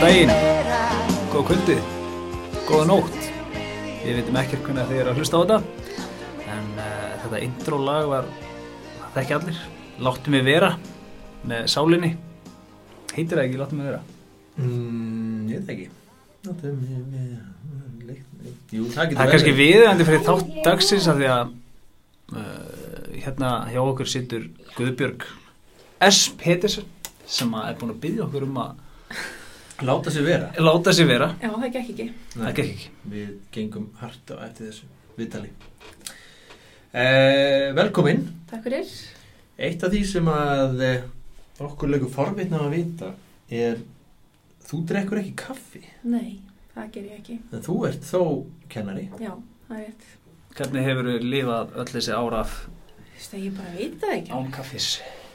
daginn, góða kvöldið, góða nótt. Við veitum ekkert hvernig þið eru að hlusta á þetta, en uh, þetta intro-lag var, það þekki allir, Láttu mig vera með sálinni. Heitir það ekki Láttu mig vera? Mm, ég veit ekki Láttu mig vera leikt- leikt- Jú, það Það getur er verið. kannski viðandi fyrir þátt dagsins af því að uh, hérna hjá okkur sittur Guðbjörg S. Petersen sem að er búin að byggja okkur um að Láta sér vera láta sér vera. Já, það gekk ekki. Það gekk ekki. Við gengum hart á eftir þessu Viðtali eh, Velkomin Takk fyrir. Eitt af því sem að eh, okkur lögur forvitna að vita er þú drekkur ekki kaffi Nei, það ger ég ekki. en þú ert þó kennari Já, það er rétt. Hvernig hefur þú lifað öll þessi ára af Þú veist að ég bara veit það ekki. án kaffis?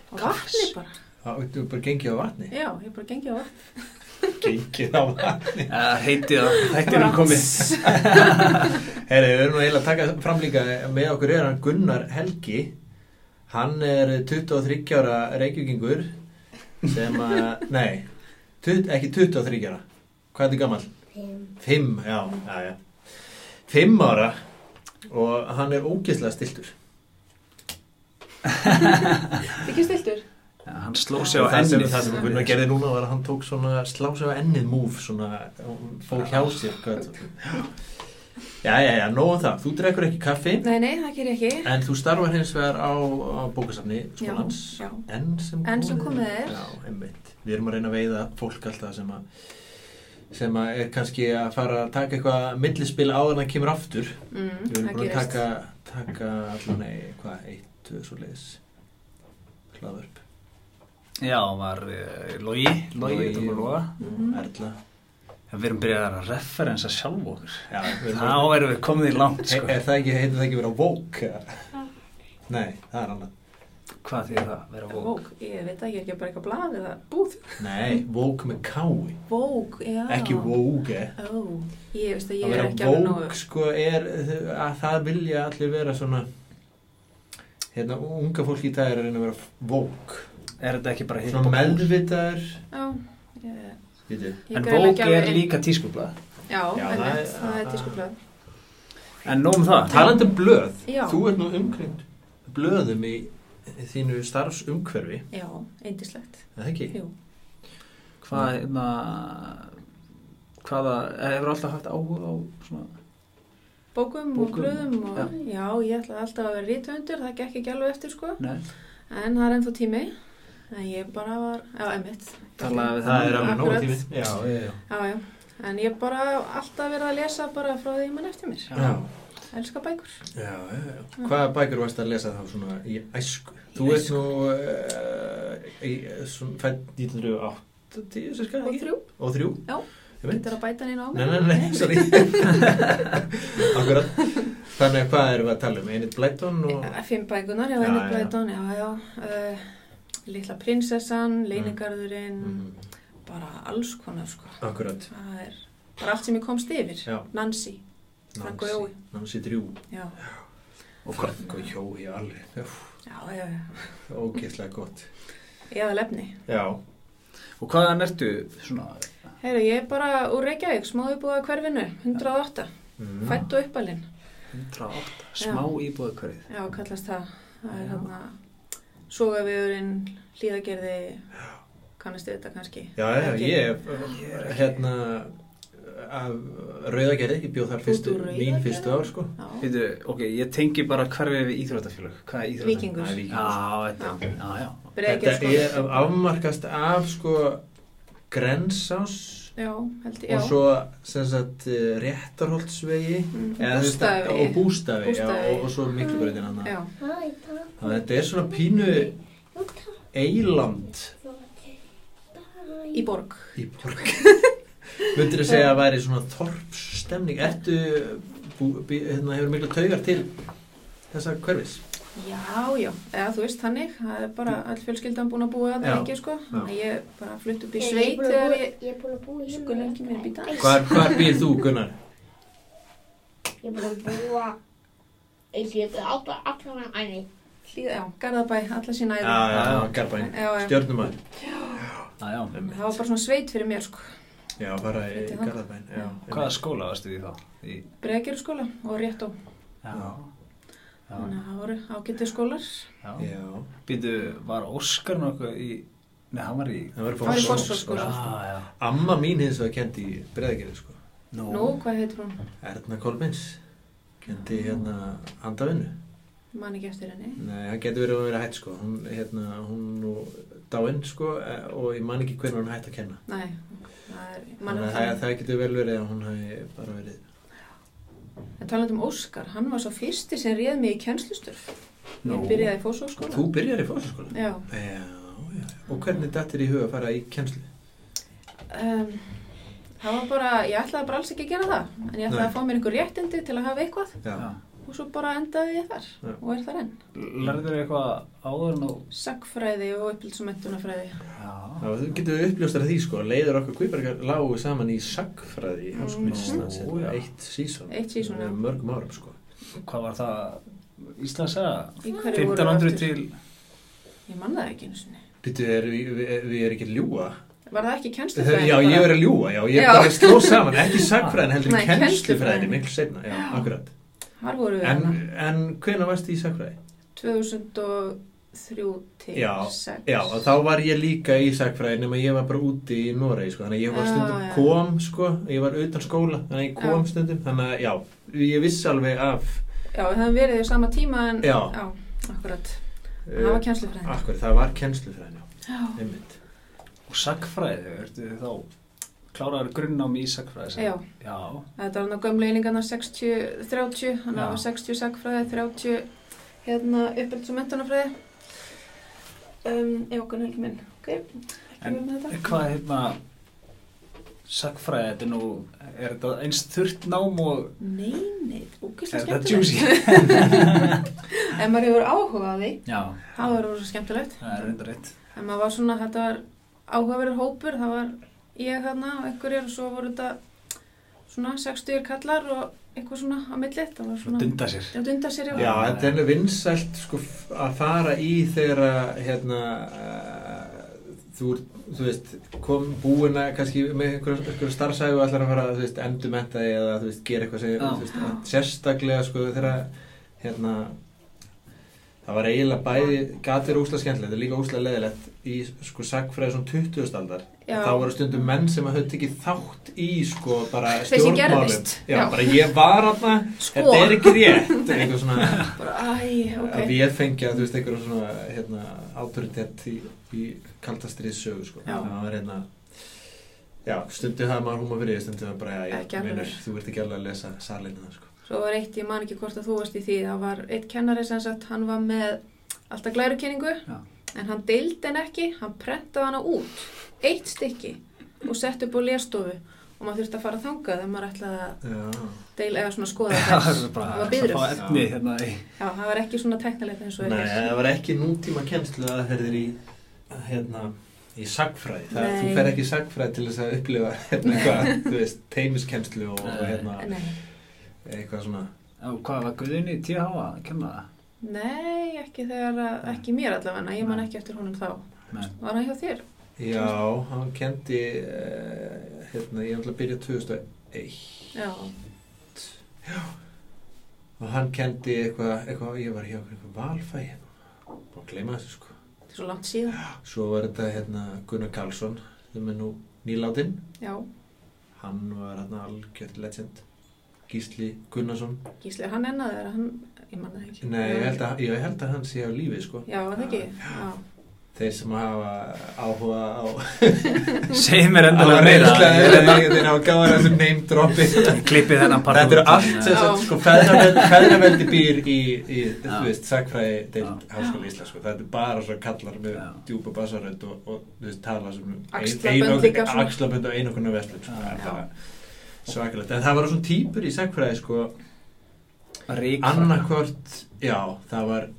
Á vatni kaffis. bara. Það veitum við bara gengið á vatni Já, ég bara gengi á vatni. Gengið á vatni Uh, heiti það, þetta er komið. Herri, við erum nú eiginlega að taka fram líka með okkur er hann Gunnar Helgi hann er 23 ára reykjökingur sem að, nei tut, ekki 23 ára, hvað er þið gammal? 5, já, já, já 5 ára og hann er ógeðslega stiltur Ekki stiltur? Ja, hann sló sig á það sem, ennið. það sem Gunnar gerði núna var að hann tók svona slá sig á ennið múf svona, hún fór hjá sér hvað, já, já, já, nóg um það þú drekkur ekki kaffi Nei, nei, það ger ég ekki. En þú starfar hins vegar á, á bókasafni skólans Já, já. Enn sem Enn sem komið er. Já, einmitt Við erum að reyna að veiða fólk alltaf sem að sem að er kannski að fara að taka eitthvað millispil áður en það kemur aftur Mm, Við erum það búin að gerist. taka, taka allan eitthvað eitt, tvö svo leiðis hlaðvörp Já, hann var uh, Logi, Logi, Logi. þetta var Loga. Mhm. Erla En Við erum byrjað að referensa sjálf okkur. Já, við erum Þá erum við komið í langt, He, sko. Er það ekki, heitir það ekki verið á vók? Ah. Nei, það er annað Hvað þýðir það? Vera vók? Vók, ég veit það, ég er ekki bara eitthvað blað eða búð. Nei, vók með kái Vók, já. Ekki eh? vóge Ó, ég veist að ég að er vera ekki alveg nógu. vók sko er að það vilja allir vera svona hérna unga fólk í dag er að reyna að vera vók Er þetta ekki bara hipp svona meðvitaður Já, ég... Veitu, ég En greinilega vók ekki alveg er inn- líka tískublað. Já, Já, en það er- það er tískublað. En nóg um það. talandi um blöð Já. þú ert nú umkring blöðum í þínu starfsumhverfi Já, eindislegt. er það ekki? Jú. Hvað, hérna, hvaða, eh, hefur alltaf haft áhuga á svona... Bókum, og Bókum, blöðum og já. já. ég ætlaði alltaf að vera rítvöndur, það gekk ekki alveg eftir sko. Nei, En það er ennþá tími, en ég bara var, já, emmitt. talaði við það er alveg nóg Akkurat. tími já, já, já. Já, já, en ég bara alltaf verið að lesa bara frá því mann eftir mér. Já. Elska bækur. Já, já, já. hvaða bækur varst að lesa þá svona í æsku þú ert nú eh, uh, fætt 1980 sirka, Og ekki? þrjú, og þrjú Já. Ég veit. þetta er að bæta neina á Nei, mig. nei, nei, sorry Akkurat Þannig að hvað erum við að tala um? Einit Blæton og Eh, Fimm bækunar, já, Já, ennett já. blæðdán, já, já. Uh, Lilla prinsessan, leinigarðurinn, mm, bara alls konar sko. Akkurat Það er bara allt sem ég komst yfir. Já. Nancy, Frank og Jói. Nancy Drjú já, Og hvað? Frank og Jói alveg já, já, já. Ógeðslega gott Eða lefni. Já, Og hvaðan ertu svona... Heyrðu, ég er bara úr Reykjavík, smáðubúða hverfinu, 108, mm. fætt og uppalinn. 108, smá íbúðu hverfið. Já, kallast það. Það er hérna, sógavegurinn, hlíðagerði, kannast þið þetta kannski? já, já, Ekki? ég Hérna af Rauðagerði, ég bjóð þar fyrstu Út úr mín Rauðagerði? fyrstu ár sko Já, Veitu, ok, ég tengi bara hverfið við íþróttafélög. Hvað er íþróttafélög? Víkingur. Já, þetta, já, já. Þetta er Breiðgerðskóla. afmarkast af sko Grensás Já, held ég, og já. svo sem sagt eh, réttarholtsvegi Mm, Eða, þú veist, Bústaðavegi. og bústafi, Já, Bústaðavegi. og, og svo miklubröðin hann Já, þannig að þetta er svona pínu eiland í borg. í borg myndir að segja að væri svona þorpsstemning ertu bú, bý, hérna, hefur mikla taugar til þessa hverfis Já, já, eða þú veist þannig, það er bara all fjölskyldan búin að búa að Mm. Já, það ekki, sko. Þannig að ég bara flutt upp í sveit þegar ég, Ég er búin að búa Sko, lengi mér býta. hvar, hvar býr þú Gunnar? Ég er búin að búa eins og ég er alltaf allan að æni. hlíða, já, Garðabæ, alla sína æði. já, Garbæn, já, já. stjórnumæður Já, já. Það var bara svona sveit fyrir mér, sko. Já, bara í Flytja þangað. Garðabæn. Já. Hvaða skóla varstu í þá? Í... Breðgerðskóla og rétt á. Já. Já. Þannig að það voru ágætið skólar. Já. Já. Býtu, var Óskar nokkuð í... Nei, hann var í... Það var í Það var í Fossvogsskóla. Fossvogsskóla. Já, já. Amma mín hins vegar kendi í breðagerði sko. Nú, hvað heitir hún? Erna Kolbins kendi hérna handavinnu. Man ekki eftir henni. Nei, hann getur verið að vera hætt sko. Hún, hérna, hún nú dáinn sko eh, og ég man ekki hvernig hún hætt að kenna. Nei, það er man Þannig að ekki það, það getur vel verið að hún hafi bara verið En talandi um Óskar, hann var svo fyrsti sem réð mig í kjenslusturf. Nú. Ég byrjaði í fósóskóla. Þú byrjar í fósaskóla? Já. Já, já. Og hvernig dættir í huga að fara í kennslu? Um, það var bara, ég ætlaði bara alls ekki að gera það. En ég ætlaði Nei. að fá mér einhver réttindi til að hafa eitthvað. Já. Og svo bara endaði ég þar. Já. Og er þar enn. Lærður eitthvað áður nú? Sackfræði og upplýsumöntunafræði. Já. Já, þú getur uppljóstar því sko, leiður okkar kvíbergar lágu saman í sagfræði í Háskóla Mhm. Íslands, Ó, já. mm. eitt sísón, Eitt season, já. mörgum árum sko. Hvað var það? Íslandsaga? Í hverju voru 1500 aftur? til... Ég man það ekki einu sinni. Býttu, er, við, við- við erum ekki að ljúa? Var það ekki kjenslufræði? Já, ég er að ljúa, já, ég Já. er bara að sló saman, ekki sagfræðin heldur Nei, kennslufræðin, kennslufræðin. miklu setna, já, akkurat. Þar voru við En, þarna. en hvenær varst í sagfræði? 2003 til Já, 6. Já, og þá var ég líka í sagfræði nema ég var bara úti í Noregi, sko, þannig að ég var Já, stundum Ah, já. kom, sko, ég var utan skóla, þannig að ég kom stundum, þannig að, já, ég vissi alveg af, Já, við höfum verið í sama tíma en... Já. Já, akkurat. En Það uh, var kjenslufræði. akkur, það var kennslufræðin, já, Já. einmitt. Og sagfræði, ertu þið þá kláraður grunnám í sagfræði? sagði- Já. Já. Þetta var hann á gömlu einingarna 60, 30, hann Já. var 60 sagfræði, 30 hérna uppelds- og mentunafræði. Um, já, hvernig ekki minn, ok, ekki En verið með En þetta. Hvað hérna, sagfræði, þetta er nú, er þetta eins þurrt nám og Nei, nei, úkislega er þetta skemmtilegt. juicy? Ef maður hefur áhuga á því, Já, það var rosa skemmtilegt. það er reyndar rétt. En maður var svona, þetta var áhugaverður hópur, það var ég þarna og einhverjir og svo voru þetta svona 60 kallar og eitthvað svona á milli. Það var Svo svona, dunda sér. já, dunda sér Já, þetta er henni vinsælt, sko, f- að fara í þegar, að, hérna, uh, þú, ert- þú veist, kom búin að, kannski, með einhverju einhver starfsægu og ætlar að fara, þú veist, endumenta þig eða, þú veist, gera eitthvað sem, Já. þú veist, að- sérstaklega, sko, þegar, að, hérna, það var eiginlega bæði, gatir úsla skemmtilegt, þetta er líka úsla leðilegt í, sko, sagfræði svona 20. aldar. Já. Þá voru stundum menn sem að höfðu tekið þátt í, sko, bara Þeir sem stjórnmálum. gerðist. Já, Já. bara ég var aðna, Sko. þetta er ekki rétt, eitthvað svona Bara, æ, ok. að við fengja, þú veist, einhverjum svona hérna, autoritet í, í kaldastriðs sögu, sko. Já. Það var hérna, já, stundu hafði maður húma fyrir, því, stundu hafði bara, já, Ekki já, alveg. minnur, þú ert ekki alveg að lesa salinu það, sko. Svo var eitt, ég man ekki hvort að þú varst í því, það var eitt kennari sem sagt, hann var með alltaf glærukenningu, Já. en hann deildi henn ekki, hann prentaði hana út, eitt stykki, og sett upp á lestofu og maður þurfti að fara þangað ef maður ætlaði að Já, deila eða svona skoða Það þess. er bara það að var fá biðröð. efni hérna í... Já, það var ekki svona teknilegt eins og nei, er. hér. það var ekki nútíma kennslu aðferðir í, hérna, í sagfræði. Það, Nei. þú fer ekki í sagfræði til þess að upplifa, hérna, eitthvað, þú veist, teimiskennslu og, og, Nei. hérna, Nei, eitthvað svona. Já, hvað var Guðinni í TH að kenna það? nei, ekki þegar, að- ekki mér allavega, ég man Nei. ekki eftir honum þá. Nei. Var hann hjá þér? Já, hann kendi, uh, hérna, ég ætla að byrja 2001. Já, og hann kendi eitthvað, eitthvað ég var hjá eitthvað valfæði og gleyma þessu sko þetta er svo langt síðan. svo var þetta hérna Gunnar Karlsson sem er nú nýlátinn Já, hann var hérna algjört legend Gísli Gunnarsson Gísli, er hann ennaði þegar hann, ég man það ekki. Nei, ég held að, ég held að hann sé á lífi sko Já, var það ekki? Já. þeir sem hafa áhuga á Segð mér endalega meira. reynslega þeir hafa gáðar þessu name droppi Ég klippi þennan part. þetta eru út. allt sem sagt, Já. sko feðraveldi feðraveldi býr í, í þú Já. veist, sakfræði deild Já. háskóla Íslands sko. það er bara svo kallar með Já. djúpa basarönd og, og þú veist, tala sem Axlabönd líka svona. axlabönd og einokunna vestlun sko. Já. Það er Já. bara svakalegt, en það var svona típur í sakfræði sko, Rík. annarkvort já, það var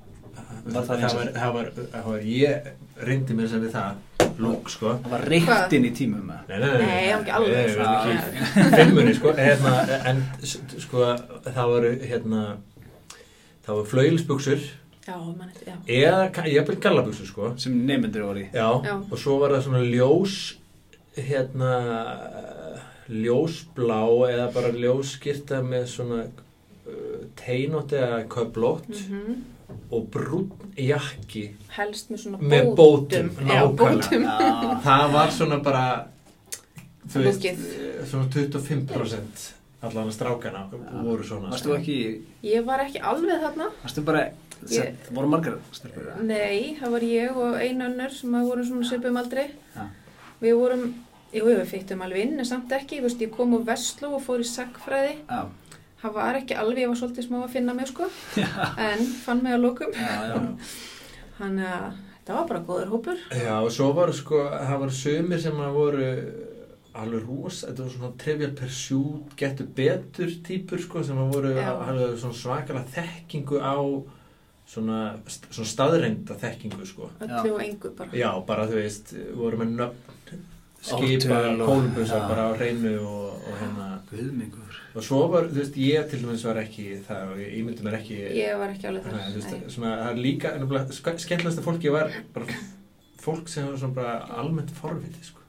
Var það það var, það var, það var ég reyndi mér sem við það lúk sko Það var ríkt inn í tímum eh, með. Nei, nei, nei, Nei, hann ekki alveg Nei, svona. við erum ekki í Fimmunni, sko, hérna, en s- sko, það voru, hérna, það voru flauilsbuksur Já, mann eftir, já. eða, ka- jafnvel gallabuksur, sko, Sem nefnendur voru í. já, Já. og svo var það svona ljós, hérna eh, ljósblá eða bara ljósskyrta með svona uh, teinótt eða köplótt Mhm. og brún jakki Helst með svona með bótum, bótum. Já, bótum. nákvæmlega það var svona bara þú veist, Lúkið. eh, svona 25% allan strákana voru svona Varstu ekki, Ég var ekki alveg þarna. varstu bara, Ég- það voru margar stelpur. eða? Nei, það var ég og einu önnur sem að vorum svona svipum aldrei. Já. Við vorum, jú, við fyrtum alveg inn, en samt ekki. Þú veist, ég kom úr Vestló og fór í sagfræði. Já, Það var ekki alveg, ég var svolítið smá að finna mig, sko. En fann mig að lókum. já, já. Þannig að þetta var bara góður hópur. Já, og svo var sko, það var sömur sem að voru alveg rosa, þetta var svona trivial pursuit, getur betur típur sko, sem að voru Já. alveg svona svakalega þekkingu á svona, st- svona staðreinda þekkingu sko. Öllu og engu bara. Já, bara þú veist, voru með nöfn, skipa, Ártöl og- kólbusar já. bara á hreinu og, og hérna. Guðmengur. Og svo var, þú veist, ég til dæmis var ekki það og ég myndi mér ekki... Ég var ekki alveg Nei, þú veist, þar. svona, það er líka, nefnilega, sk- skemmtilegasta fólki var bara fólk sem var svona bara almennt forviti, sko.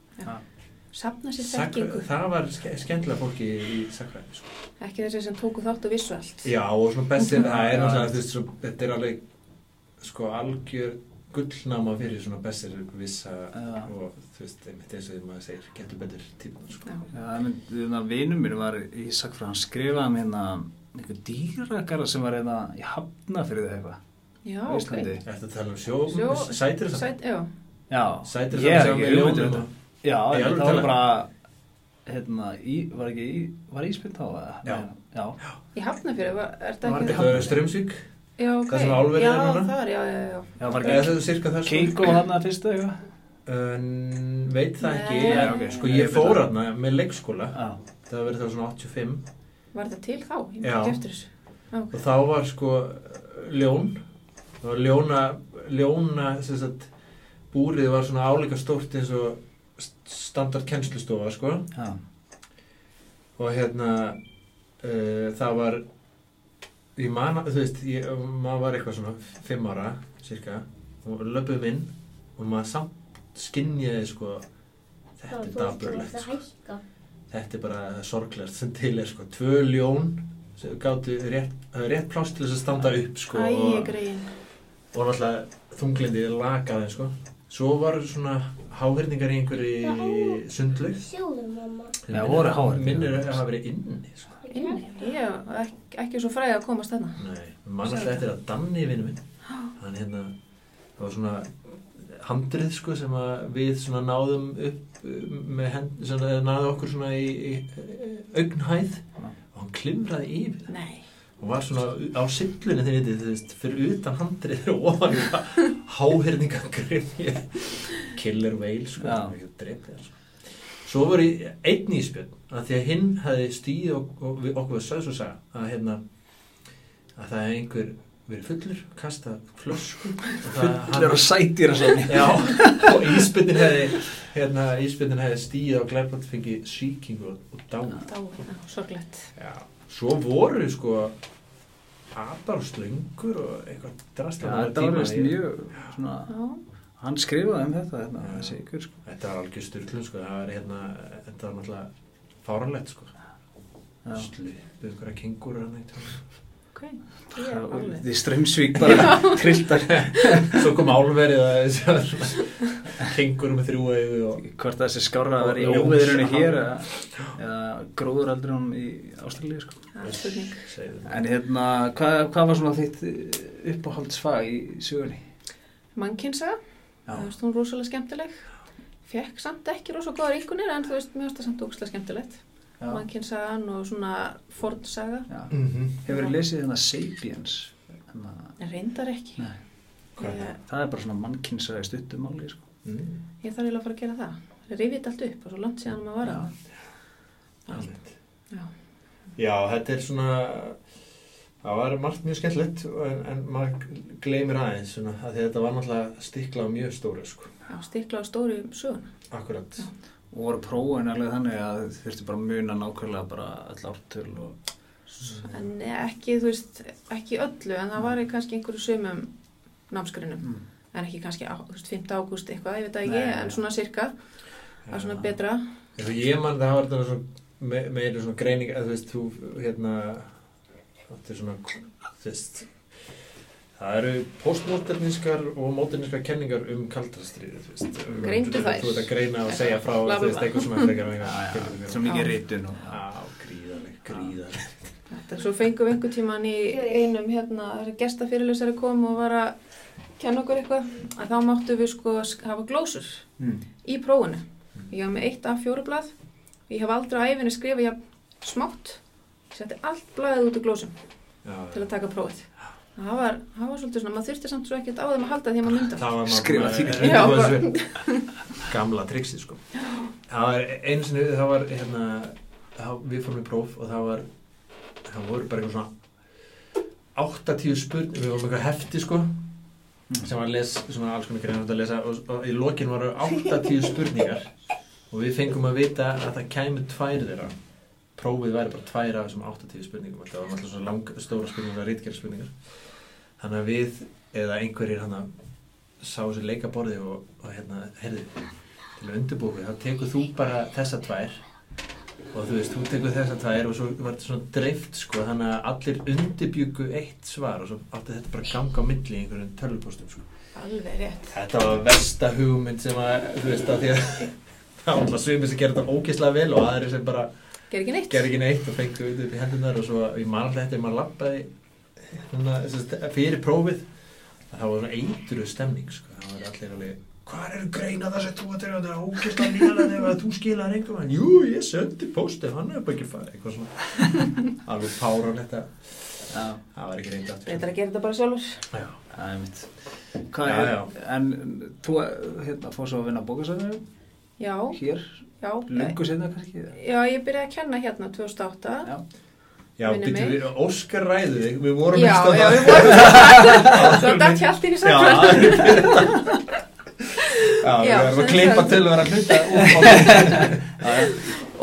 Sapna sér Sakra, þekkingu. það var ske, skemmtilega fólki í sakræði, sko. Ekki þessi sem tóku þátt og vissu allt. Já, og svona bestið, það Já. er náttúrulega, þú veist, svo, þetta er alveg, sko, algjör gullnáma fyrir svona bestir vissa Já. og, þú veist, einmitt eins og því maður segir, getur betur tíma, sko. Já. Já, það myndi, þannig að vinum mér var í sakfræðan skrifaði um hérna einhver dýragarð sem var hérna í Hafnafyrði eða eitthvað. Já, á Ah, ok. Íslandi. Þetta tala um sjó, Sjó- sætir það? Sæt, já. Já, Sætir ég það er ekki um hugmyndur þetta. Já, Í en það alvöru var talað? bara, hérna, í, var ekki í, var íspynt á það? Já. Nei, Já, Í Hafnafjörðu, var, er þetta Var ekki... Þetta var Strömsvík, Já, ok. það sem álverið já, er núna? Já, það er, já, já, já. já, var eða ekki þetta er cirka það, sko. Keiko þarna fyrst eða eitthvað? Uh, veit það ekki, Nei. Já, ok. sko ég fór hana með leikskóla, Já, það verið þá svona 85 Var þetta til þá? Já. Ég maður ekki eftir þessu. Já, ok. og þá var sko uh, ljón, það var ljóna, ljóna sem sagt, búrið var svona álíka stórt eins og st- standard kennslustofa sko já, og hérna uh, það var, ég man, að- þú veist, ég, maður var eitthvað svona 5 ára cirka og löpum inn og maður samt skinnjaði sko, þetta er daburlegt sko. sko. þetta er bara sorglegast sem til er sko, tvö ljón sem gáttu rétt, höfðu rétt pláss til þess að standa upp sko, Æ, og, greiðin. og náttúrulega þunglindið lakaði sko. svo var svona háverningar í einhverju sundlaug Sjóðu mamma. sem Já, minnir- voru háhyrningar. minnir að hafa verið inni sko. Inni, ég ekki, ekki svo fræði að komast þarna. Nei, mann alltaf eftir að danni vinnu minn hann hérna það var svona handrið sko sem að við svona náðum upp uh, með hend, svona eða náðu okkur svona í, í augnhæð Já. og hann klimraði yfir það Nei. og var svona á sillunni þegar þið, þú veist, fyrir utan handrið og ofan háhyrningagrifji killer whale sko, Já. ekki dreipið það sko. svo var ég einn íspjörn að því að hinn hefði stíð og, og við, okkur við sögðs og sagði að hérna að það hefði einhver verið fullur kasta flösku og það- Fullur og sætir og svona. Já, og íspinnin hefði hérna, íspinnin hefði stíð á glærbátt fengið sýkingu og- og dáið Dá, já, sorglegt. Já, svo voru sko abar og slöngur og eitthvað drast Já, þarna á þetta var tíma. veist mjög, svona, Já. hann skrifaði um þetta, hérna, Já. þessi ykkur, sko. Þetta var algjör styrklun sko, það var hérna, þetta var náttúrulega fáranlegt sko. Já. Slupið einhverja kengúru hann eitt. Ok. Ég er Og alveg. Því strömsvík bara trilltar Svo kom álverið að þessi kengúru með þrjú auðu og... hvort það sé skárra að vera í Og ljós. óveðrunni hér eða, eða gróðuraldrunum í Ástralíu sko. Það er spurning. Segðu. En hérna, hvað, hvað var svona þitt uppáhaldsfag í sögunni? Mannkinsa, þú veist, hún er rosalega skemmtileg. Fekk samt ekki rosalega góðar ykkunir, en þú veist, mér finnst það samt ógstlega skemmtilegt. Já. Mannkinsagan og svona fornsaga. Já. Mhm. Hefur lesið hérna Sapiens? Hérna, En reyndar ekki. Nei. Hvað er Ég, það er bara svona mannkynsra í stuttumáli sko. Mm. ég þarf eiginlega að fara að gera það. Rifið þetta allt upp og svo langt síðan maður var Já. að. Almennt. Já. Já, þetta er svona það var margt mjög skemmtilegt en, en maður gleymir aðeins svona, að því að þetta var náttúrulega stikla á mjög stóru sko, Já, stiklað stóri söguna. akkurat og voru prófin alveg þannig að þið þurftu bara að muna nákvæmlega bara öll ártöl og En ekki, þú veist, ekki öllu, en það var kannski einhverju sumum námsgrunum. mm. En ekki kannski, á- þú veist, 5. ágúst eitthvað, ég veit það ekki, Nei, en já. svona cirka. það er svona betra Eins og ég man það var þetta svona me- meira svona greining að þú veist þú hérna þetta er svona þú veist það eru postmodernískar og modernískar kenningar um kaldrastríði þú veist Greindu þær. þú veist að greina og segja frá Bla, bla, þú veist bla. eitthvað svona frekar og Já, já, eitthvað Svo mikið rítun og á gríðarleg gríðarleg Þetta, svo fengum við einhvern tíman í einum hérna, gestafyrirlösari kom og var að kenna okkur eitthvað að þá máttu við sko sk- hafa glósur Mm. í prófunu Mm. ég haf með eitt af fjóru blað og ég hef aldrei á æfinni skrifað jafn smátt ég setti allt blaðið út í glósum til já, að taka prófið það var, það var svolítið svona, maður þurfti samt svo ekkert á þeim að halda því að maður mynda það var maður Skrifa þínu. Eh, Já, það var bara- svo- gamla triksi sko það var eins og það var hérna það, við fórum í próf og það var það voru bara eitthvað svona 80 spurning, við vorum eitthvað hefti sko sem var að les svona alls konar greina að lesa og, og í lokin voru 80 spurningar og við fengum að vita að það kæmi tvær þeirra prófið væri bara tvær af þessum 80 spurningum alltaf, það var alltaf svona lang, stóra spurningar rítgerð spurningar þannig að við eða einhverjir hann að sá þessu leikaborði og, og hérna, heyrðu, til að undirbúku þá tekur þú bara þessa tvær og þú veist, þú tekur þessa tvær og svo var þetta svona dreift sko þannig að allir undirbjúku eitt svar og svo átti þetta bara að ganga á milli í einhverjum tölvupostum sko. alveg rétt Þetta var versta hugmynd sem að, þú veist, að því að það var alltaf svimið sem gerði þetta ógeðslega vel og aðri sem bara ger ekki neitt gerði ekki neitt og fengu út upp í hendunar og svo ég man alltaf þetta, ef maður lappaði hérna, sem sagt, fyrir prófið það var svona eitru stemning sko. það var allir alveg hvað eru greina það sem þú að treyja þetta er ógeðslega nýjalega ef að þú skilar einhver mann jú, ég sendi pósti, hann er bara ekki farið eitthvað svona alveg fáránlegt að Já, það var ekki reynd aftur betra að gera þetta bara sjálfur Já. það er mitt. Hvað Já, er, já. en þú hérna, fór svo að vinna á bókasafninu já, hér, já, lungu sinna kannski? eða? já ég byrjaði að kenna hérna 2008 Já, já, Minni býttu mig. við Óskar ræðu þig við vorum já, einstaka- já, við vorum svo dætt hjálpinn í Já, það samfélag er þetta. Já, við Já, erum að sem klippa sagt. til að vera að hluta út á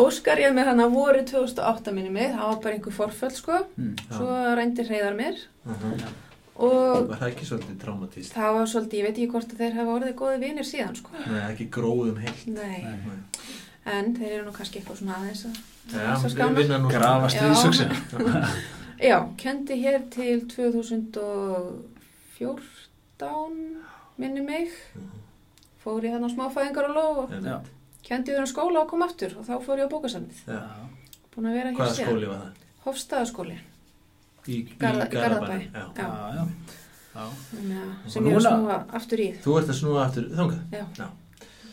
Óskar ég með hann að voru 2008 minni mig, það var bara einhver forföll sko Mm. svo reyndi hreyðar mér Var og það ekki svolítið traumatist? það var svolítið, ég veit ekki hvort að þeir hafa orðið góði vinir síðan sko Nei, ekki gróðum heilt. Nei, Nei. en þeir eru nú kannski eitthvað svona aðeins að Já, Svo við skánar. vinna nú Grafa Já. stríðsöksin. Já, kendi hér til 2014 minni mig fór ég hann á smáfæðingar og lóð og Já. kendi þurra skóla og kom aftur og þá fór ég á bókasamnið Já. búin að vera hér Hvaða skóli var það? Hofstaðaskóli Í, í Garða- Garðabæ. Já. Já, Já, já. Já, já, Og sem ég var núna- snúa aftur í Þú ert að snúa aftur þangað. Já, Já.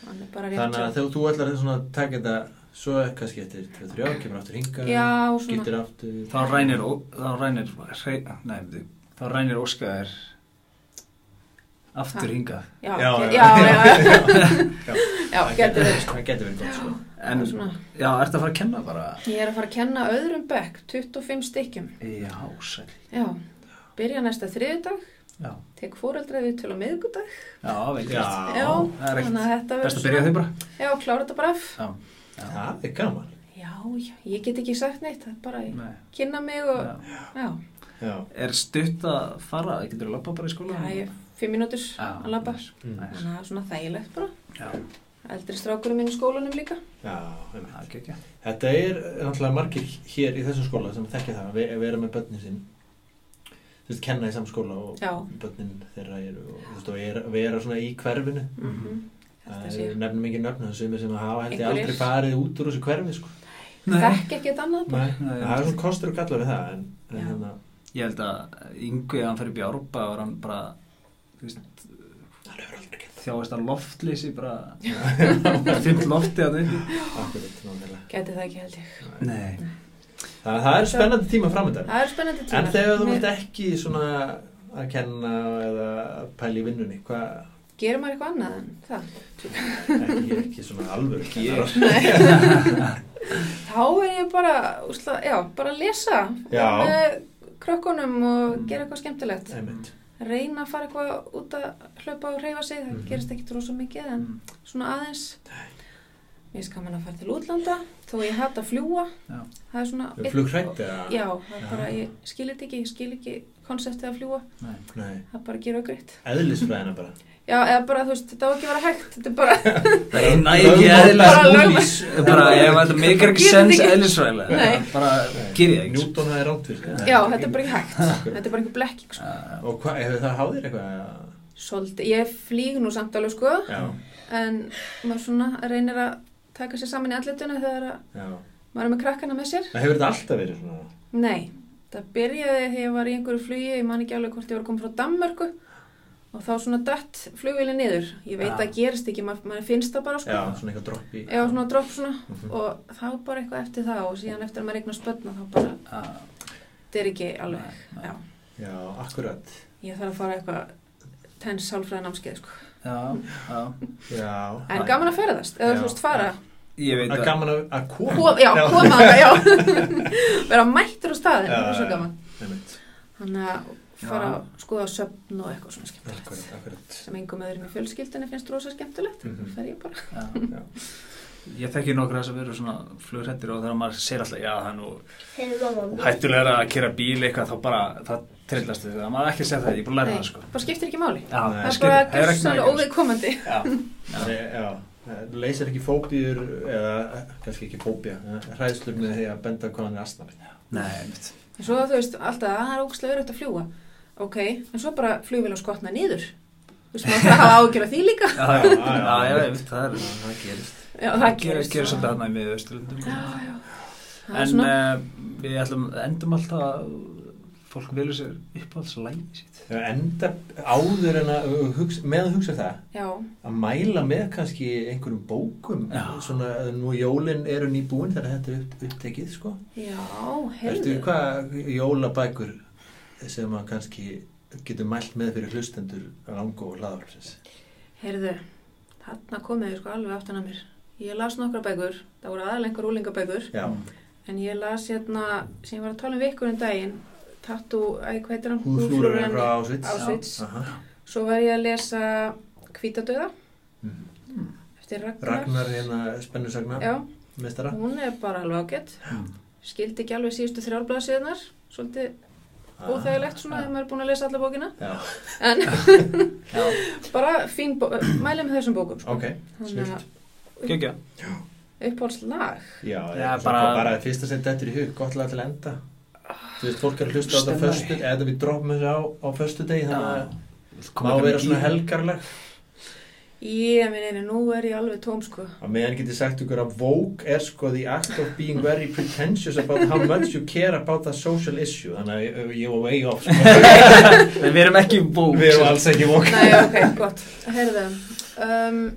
hann er bara rétt Þannig hjá. að þegar þú ætlar svona að taka þetta svo kannski eftir 2-3 ár, kemur aftur hingað, Já, svona. skiptir aftur. Þá rænir, Ó- þá rænir, hrei- nei, byrju, þá rænir Óskar aftur Ha. hingað. Já, Já, já, já. já, já, Já. já, getur verið. Það getur verið gott, sko. En, Það er svona. já, ertu að fara að kenna bara? Ég er að fara að kenna öðrum bekk, 25 stykkjum. Já, sæl. Já, byrja næsta þriðudag, Já, tek fóreldrað við til á miðgudag. já, vel Já. gert. Já, það er ekkert þannig að þetta verður Best að byrja á því bara. svona- Já, klára þetta bara af. Já. Það er gaman. Já, já, ég get ekki sagt neitt, það er bara að Nei. kynna mig og, Já. já, Já. Er stutt að fara? Getur þú lappa bara í skóla? já, ég er fimm mínútur Já, að labba. nice, Mm. nice. Þannig að það er svona þægilegt bara. Já, Eldri strákurinn minn í skólanum líka. Já, einmitt. það er gekkja. Þetta er náttúrulega margir hér í þessum skóla sem þekkja það, við, við erum með börnin sín þú veist, kenna í saman skóla og Já. börnin þeirra eru og þú veist, og er, vera svona í hverfinu Mhm. Mm það Þetta sé, er nefnum ekki nöfnum, það sumir sem hafa held ég Einhverjir. aldrei farið út úr þessu hverfi sko. þekk ekki þetta annað bara. Nei, Nei, það er svona kostur og gallar við það en, en Já. hérna, Ég held að Yngvi, ef hann fer upp í Árba og hann bara, þú veist, það er aldrei gett þjáist að loftlýsi bara, finn loftið að uppi. akkurat, náttúrulega Geti það ekki held ég. Nei. það, það er spennandi tíma framöndan Það er spennandi tíma. en þegar þú Mér- ert ekki svona að kenna eða að pæla í vinnunni hvað, e- Gerir maður eitthvað annað en það? ekki, ekki svona alvöru kennarar. Þá er ég bara, úsla, já, bara að lesa Já. með krökkunum og gera eitthvað skemmtilegt. Einmitt. Reyna að fara eitthvað út að hlaupa og reyfa sig, það Mhm. gerist ekkit rosa mikið en Mm. svona aðeins. Mér skal mann að fara til útlanda, þó ég hata að fljúa. Já. Það er svona... Flughrætt Um eða? Já, það er bara, Já. ég skil þetta ekki, ég skil ekki konseptið að fljúa Nei. Nei, það bara gera greitt eðlisfræðina bara já, eða bara, þú veist, þetta var ekki að vera hægt þetta er bara, Nei, næ, ekki Lögmál eðlilega Bara lögmál. múlís bara, ef þetta meikar ekki Gerðu sens ekki. eðlisvæðilega Nei. bara, gerði það ekki Newton hafði rátt fyrir já, þetta er bara ekki hægt þetta er bara ekki blekking, sko Og hvað, hefur það háðir eitthvað? eða? svolítið, ég flýg nú samt alveg, sko Já, en maður svona reynir að taka sér saman í andlitinu þegar að já maður er með krakkana með sér En hefur þetta alltaf verið svona? Nei, það byrjaði þegar ég var í einhverju flugi, ég man ekki alveg hvort ég var komið frá Danmörku og þá svona dött flugvili niður. Ég veit Já. að það gerist ekki, maður, maður finnst það bara sko. Já, svona eitthvað dropp í Já, svona dropp svona Mhm. og þá bara eitthvað eftir það og síðan eftir að maður eignar spötna þá bara, Ah, þetta er ekki alveg, Nei, nei. já. Já, akkurat Ég þarf að fara eitthvað tens sálfræði námskeið sko. já, já Já En Nei. gaman að ferðast, eða Já, þú veist fara, ég veit Það er gaman að að koma Kom, já, koma það, já, vera mættur á staðin, Já, það er já, svo já. gaman. Einmitt. Þannig að fara Já. að skoða söfn og eitthvað svona skemmt. Akkurat, akkurat sem engum öðrum í fjölskyldinni finnst rosa skemmtilegt mm Mhm. fer ég bara Já. Já. Ég þekki nokkra þess að vera svona flugrættir og þegar maður segir alltaf, já það er nú Þeir lofa mér. hættulegra að kera bíl eitthvað þá bara, það trillast þau, það maður er ekki að segja það, ég er búin að læra Nei, það sko. bara skiptir ekki máli Já, Nei. það er skil- bara það er ekki sko. gjössalega nægilegt. óviðkomandi Já, Nei, Já, það leysir ekki fóbiður eða kannski ekki fóbía hræðslur með því að benda hvað hann er astnari nei, einmitt. en svo þú veist alltaf að það er ógustlega verið að fljúa ok, en svo bara flugvél á skotna niður þú veist maður þarf að hafa ágjör af því líka Já, já, já, já, já, já, einmitt. einmitt, það er, Það gerist já, það gerir gerist. gerir svolítið þarna í miðausturlundum. já, já það er En svona uh, við ætlum, endum alltaf að fólk vilja sér uppáhaldslægi sitt. Það enda áður en að hugsa, með að hugsa það já, að mæla með kannski einhverjum bókum Já. svona að nú jólin eru nýbúin þegar þetta er upp, upptekið sko já, Ertu heyrðu hvað jólabækur sem að kannski getur mælt með fyrir hlustendur langu og hlaðvarpsins heyrðu, þarna komið þið sko alveg aftan að mér ég las nokkra bækur, það voru aðalengar úlingabækur Já, Mm. En ég las hérna, sem ég var að tala um vikur um daginn, Tattoo, æ, hvað heitir hann? húðflúrurinn frá Ásvits Ásvits. Aha. Svo var ég að lesa Hvítadauða Mhm. eftir Ragnar. Ragnar hérna spennusagna Já, mestara hún er bara alveg ágætt. Skildi ekki alveg síðustu þrjárblæðsíðunar, svolítið óþægilegt svona ah. þegar maður er búin að lesa alla bókina. Já, En Já, bara fín bók, mælið með þessum bókum. sko. ok, Þannig snillt að geggja. uppáhaldslag. Já, Já, bara, bara- bara, bara fyrsta sem dettur í hug, gott lag til enda Þú veist, fólk er að hlusta á þetta Stemma föstu, í. eða við droppum þessu á, á föstu degi þannig að Koma má ekki vera með svona gír. helgarleg Ég meina, nú er ég alveg tóm sko. Að meðan getið sagt ykkur að Vogue er sko the act of being very pretentious about how much you care about the social issue Þannig að ég- ég var way off sko. En við erum ekki sko. bók. Við erum alls ekki Vogue Nei, ok, gott. Herðu, um,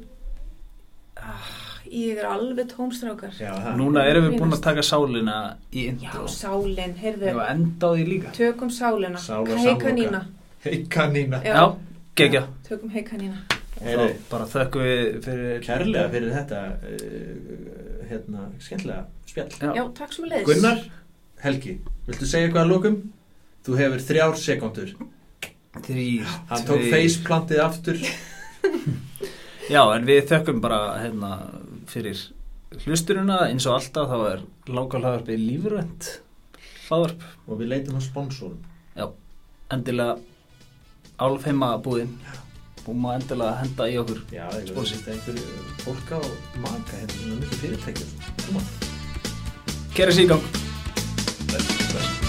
ah, ég er alveg tómstrákar. Já, það Núna erum við búin að taka sálina í Já, intro. sálinn, Við erum heyrðu, að enda á því líka. tökum sálina, Sála hei samloka. kanína, Hei kanína Já. Já, geggja. tökum hei kanína. Þá Heyri, bara þökkum við fyrir... kærlega fyrir þetta uh, hérna, skemmtilega spjall Já. Já, takk sem leiðis. Gunnar, Helgi, viltu segja eitthvað að lókum? Þú hefur þrjár sekundur Þrýr, Hann tók faceplantið aftur Já, en við þökkum bara hérna fyrir hlusturina eins og alltaf þá er lágalhagarpið lífrönd hlaðvarp, og við leitum á sponsorum endilega álfheima búðin og maður endilega henda í okkur Já, ég Sponsor. veist einhver fólk á maka hérna, svona mikið fyrirtækjum Koma Kæra sígang Bless, bless